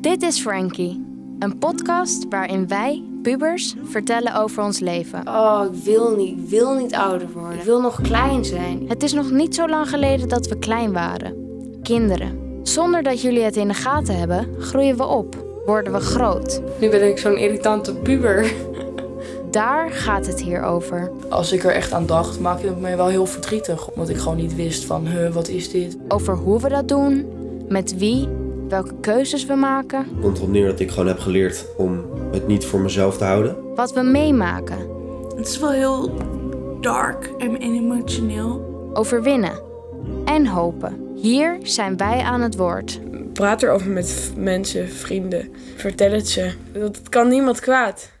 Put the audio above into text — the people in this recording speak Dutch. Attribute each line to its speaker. Speaker 1: Dit is Frankie, een podcast waarin wij, pubers, vertellen over ons leven.
Speaker 2: Oh, ik wil niet. Ik wil niet ouder worden. Ik wil nog klein zijn.
Speaker 1: Het is nog niet zo lang geleden dat we klein waren. Kinderen. Zonder dat jullie het in de gaten hebben, groeien we op. Worden we groot.
Speaker 2: Nu ben ik zo'n irritante puber.
Speaker 1: Daar gaat het hier over.
Speaker 3: Als ik er echt aan dacht, maakte het mij wel heel verdrietig. Omdat ik gewoon niet wist van, huh, wat is dit?
Speaker 1: Over hoe we dat doen, met wie, welke keuzes we maken,
Speaker 4: komt erop neer dat ik gewoon heb geleerd om het niet voor mezelf te houden.
Speaker 1: wat we meemaken,
Speaker 5: Het is wel heel dark en emotioneel.
Speaker 1: overwinnen en hopen. Hier zijn wij aan het woord.
Speaker 6: Praat erover met v- mensen, vrienden. Vertel het ze. Dat kan niemand kwaad.